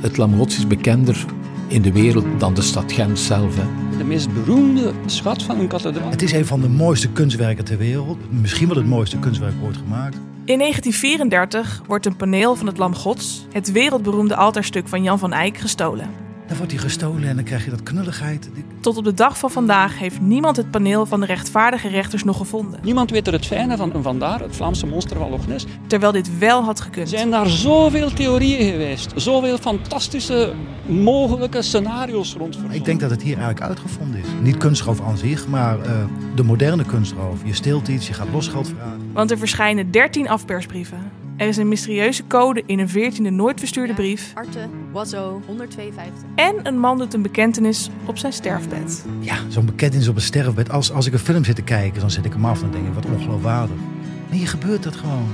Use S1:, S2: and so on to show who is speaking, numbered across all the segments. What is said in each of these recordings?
S1: het Lamelotsch is bekender in de wereld dan de stad Gent zelf. Hè.
S2: De meest beroemde schat van een kathedraal.
S3: Het is een van de mooiste kunstwerken ter wereld. Misschien wel het mooiste kunstwerk ooit gemaakt.
S4: In 1934 wordt een paneel van het Lam Gods, het wereldberoemde altaarstuk van Jan van Eyck, gestolen.
S3: Dan wordt hij gestolen en dan krijg je dat knulligheid.
S4: Tot op de dag van vandaag heeft niemand het paneel van de rechtvaardige rechters nog gevonden.
S2: Niemand weet er het fijne van. En vandaar het Vlaamse monster van Loch Ness.
S4: Terwijl dit wel had
S2: Er
S4: gekund.
S2: zijn daar zoveel theorieën geweest. Zoveel fantastische mogelijke scenario's rond.
S3: Ik denk dat het hier eigenlijk uitgevonden is. Niet kunstroof aan zich, maar eh, de moderne kunstroof. Je steelt iets, je gaat losgeld vragen.
S4: Want er verschijnen 13 afpersbrieven. Er is een mysterieuze code in een 14e nooit verstuurde brief.
S5: Arte, Wazzo, 152.
S4: En een man doet een bekentenis op zijn sterfbed.
S3: Ja, zo'n bekentenis op een sterfbed. Als, als ik een film zit te kijken, dan zet ik hem af en dan denk ik, wat ongeloofwaardig. Maar hier gebeurt dat gewoon.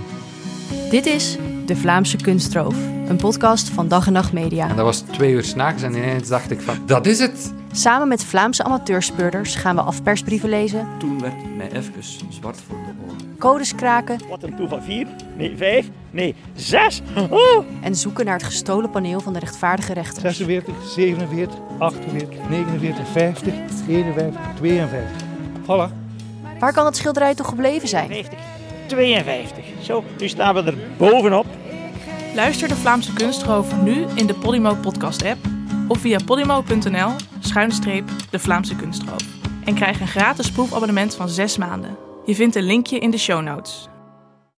S5: Dit is De Vlaamse Kunstroof, een podcast van Dag en Nacht
S6: En
S5: Media.
S6: dat was twee uur s'nachts en ineens dacht ik van, dat is het.
S5: Samen met Vlaamse amateurspeurders gaan we afpersbrieven lezen,
S7: Toen werd het mij even zwart voor de ogen.
S5: codes kraken
S8: Wat een toeval. Vier? Nee, vijf? Nee, zes? Oh!
S5: en zoeken naar het gestolen paneel van de rechtvaardige rechters.
S9: 46, 47, 48, 49, 50, 51, 52. Voilà.
S5: Waar kan dat schilderij toch gebleven zijn?
S8: 50, 52. Zo, nu staan we er bovenop.
S4: Luister de Vlaamse kunstroof nu in de Podimo podcast app of via podimo.nl schuinstreep de Vlaamse kunstroof. En krijg een gratis proefabonnement van 6 maanden. Je vindt een linkje in de show notes.